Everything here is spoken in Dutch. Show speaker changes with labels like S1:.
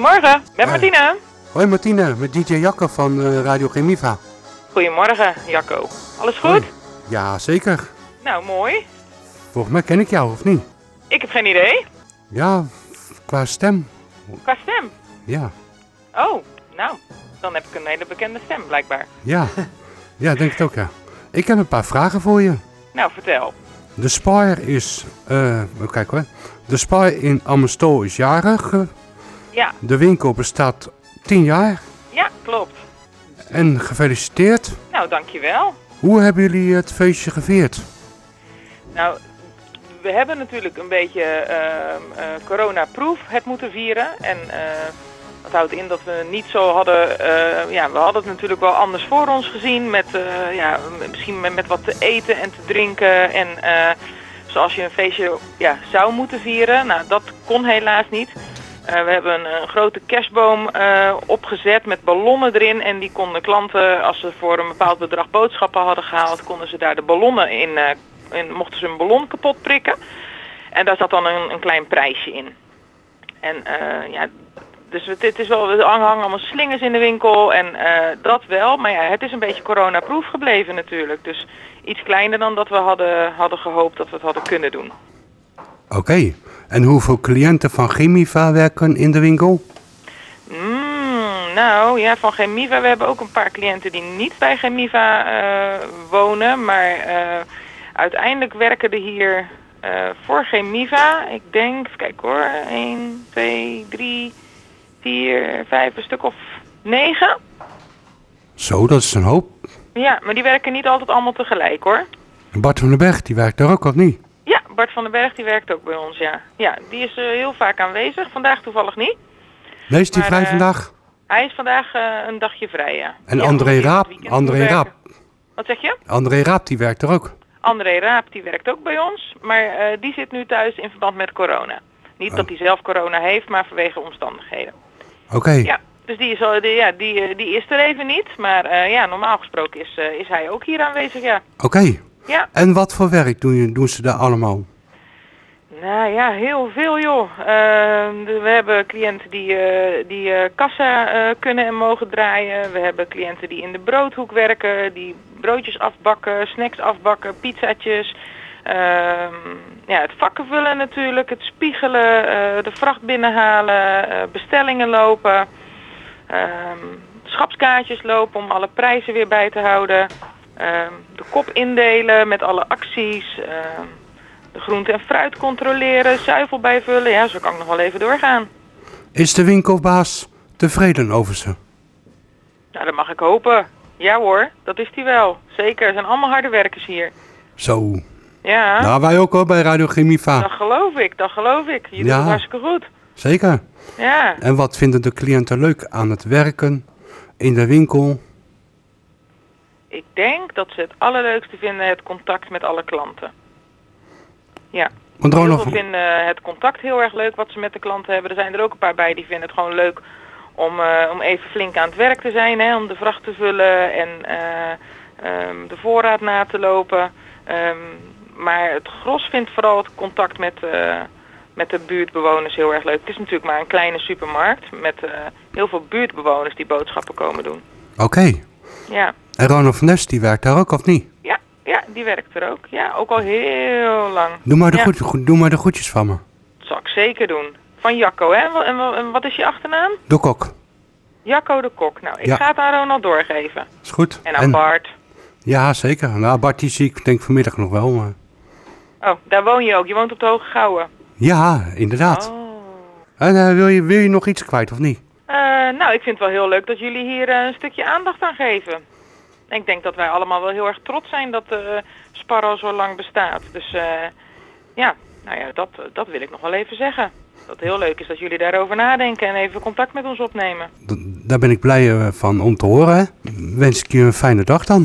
S1: Goedemorgen, met
S2: Hoi.
S1: Martina.
S2: Hoi Martina, met DJ Jacco van eh, Radio Gemiva.
S1: Goedemorgen, Jacco. Alles goed?
S2: Hoi. Ja, zeker.
S1: Nou, mooi.
S2: Volgens mij ken ik jou, of niet?
S1: Ik heb geen idee.
S2: Ja, qua stem.
S1: Qua stem.
S2: Ja,
S1: Oh, nou, dan heb ik een hele bekende stem blijkbaar.
S2: ja. ja, denk het ook, ja. Ik heb een paar vragen voor je.
S1: Nou, vertel.
S2: De spaar is... eh, even kijken hoor. De spaar in Amersfoort is jarig.
S1: Ja,
S2: De winkel bestaat 10 jaar.
S1: ja, klopt.
S2: En gefeliciteerd.
S1: Nou, dankjewel.
S2: Hoe hebben jullie het feestje gevierd?
S1: Nou, we hebben natuurlijk een beetje ehm eh, coronaproof het moeten vieren. En eh, dat houdt in dat we niet zo hadden... eh, ja, we hadden het natuurlijk wel anders voor ons gezien. Met, eh, ja, m- misschien met, met wat te eten en te drinken. En eh, zoals je een feestje ja, zou moeten vieren. Nou, dat kon helaas niet. Eh, we hebben een, een grote kerstboom eh, opgezet met ballonnen erin. En die konden klanten, als ze voor een bepaald bedrag boodschappen hadden gehaald, konden ze daar de ballonnen in, eh, in mochten ze een ballon kapot prikken. En daar zat dan een, een klein prijsje in. En eh, ja, dus het, het is wel, er hangen hangen allemaal slingers in de winkel en eh, dat wel. Maar ja, het is een beetje coronaproof gebleven natuurlijk. Dus iets kleiner dan dat we hadden, hadden gehoopt dat we het hadden kunnen doen.
S2: Oké. En hoeveel cliënten van Gemiva werken in de winkel?
S1: Mm, nou ja, van Gemiva. We hebben ook een paar cliënten die niet bij Gemiva eh, wonen. Maar eh, uiteindelijk werken er hier eh, voor Gemiva. Ik denk, even kijken hoor, 1, 2, 3, 4, 5, een stuk of 9.
S2: Zo, dat is een hoop.
S1: Ja, maar die werken niet altijd allemaal tegelijk hoor.
S2: En Bart van den Berg, die werkt daar ook of niet?
S1: Ja, Bart van den Berg die werkt ook bij ons, ja. Ja, die is eh, heel vaak aanwezig. Vandaag toevallig niet.
S2: Nee, is die
S1: Maar,
S2: vrij
S1: eh,
S2: vandaag?
S1: Hij is vandaag eh, een dagje vrij, ja.
S2: En
S1: Ja,
S2: André
S1: omdat hij het
S2: Raap,
S1: weekend moet
S2: André
S1: werken.
S2: Raap,
S1: Wat zeg je?
S2: André Raap, die werkt er ook.
S1: André Raap die werkt ook bij ons, maar eh, die zit nu thuis in verband met corona. Niet dat hij zelf corona heeft, maar vanwege omstandigheden.
S2: Oké,
S1: Ja, dus die is, al, die, ja, die, eh, die is er even niet, maar eh, ja, normaal gesproken is, eh, is hij ook hier aanwezig, ja.
S2: oké.
S1: Ja,
S2: En wat voor werk doen, je- doen ze daar allemaal?
S1: nou ja, heel veel joh. Eh, de- we hebben cliënten die, eh, die eh, kassa eh, kunnen en mogen draaien. We hebben cliënten die in de broodhoek werken, die broodjes afbakken, snacks afbakken, pizzatjes. Ehm, ja, het vakken vullen natuurlijk, het spiegelen, eh, de vracht binnenhalen, eh, bestellingen lopen. Ehm, schapskaartjes lopen om alle prijzen weer bij te houden. Ehm, de kop indelen met alle acties. Ehm, de groente en fruit controleren, zuivel bijvullen. Ja, zo kan ik nog wel even doorgaan.
S2: Is de winkelbaas tevreden over ze?
S1: Nou, dat mag ik hopen. Ja hoor, dat is die wel. Zeker, het zijn allemaal harde werkers hier.
S2: Zo.
S1: Ja,
S2: Nou, wij ook hoor, bij Radio Gemiva.
S1: dat geloof ik, dat geloof ik. Je doet
S2: Ja.
S1: het hartstikke goed.
S2: Zeker.
S1: Ja,
S2: En wat vinden de cliënten leuk aan het werken, in de winkel?
S1: ik denk dat ze het allerleukste vinden het contact met alle klanten. Ja.
S2: Want er ook
S1: Heel
S2: nog...
S1: veel vinden eh, het contact heel erg leuk wat ze met de klanten hebben. Er zijn er ook een paar bij die vinden het gewoon leuk om, eh, om even flink aan het werk te zijn. Hè, om de vracht te vullen en eh, ehm, de voorraad na te lopen. Ehm, maar het gros vindt vooral het contact met, eh, met de buurtbewoners heel erg leuk. Het is natuurlijk maar een kleine supermarkt met eh, heel veel buurtbewoners die boodschappen komen doen.
S2: Oké.
S1: Ja.
S2: En Ronald van Nes, die werkt daar ook of niet?
S1: Ja, ja, die werkt er ook. Ja, ook al heel lang.
S2: Doe maar de,
S1: Ja.
S2: goed, goed- doe maar de groetjes van me.
S1: Dat zal ik zeker doen. Van Jacco, hè? En wa- En wa- en wat is je achternaam?
S2: Doe kok.
S1: Jacco de Kok. Nou, ik
S2: Ja.
S1: ga het aan Ronald doorgeven.
S2: Is goed.
S1: En aan Bart.
S2: Ja, zeker. Nou, Bart die zie ik denk vanmiddag nog wel. Maar...
S1: Oh, daar woon je ook. Je woont op de Hoge Gouwen.
S2: Ja, inderdaad.
S1: Oh.
S2: En eh, wil, je, wil je nog iets kwijt of niet?
S1: Eh, nou, ik vind het wel heel leuk dat jullie hier eh, een stukje aandacht aan geven. En ik denk dat wij allemaal wel heel erg trots zijn dat eh Sparro zo lang bestaat. Dus eh, ja, nou ja, dat, dat wil ik nog wel even zeggen. Dat het heel leuk is dat jullie daarover nadenken en even contact met ons opnemen.
S2: D- daar ben ik blij eh, van om te horen. Hè. Wens ik je een fijne dag dan.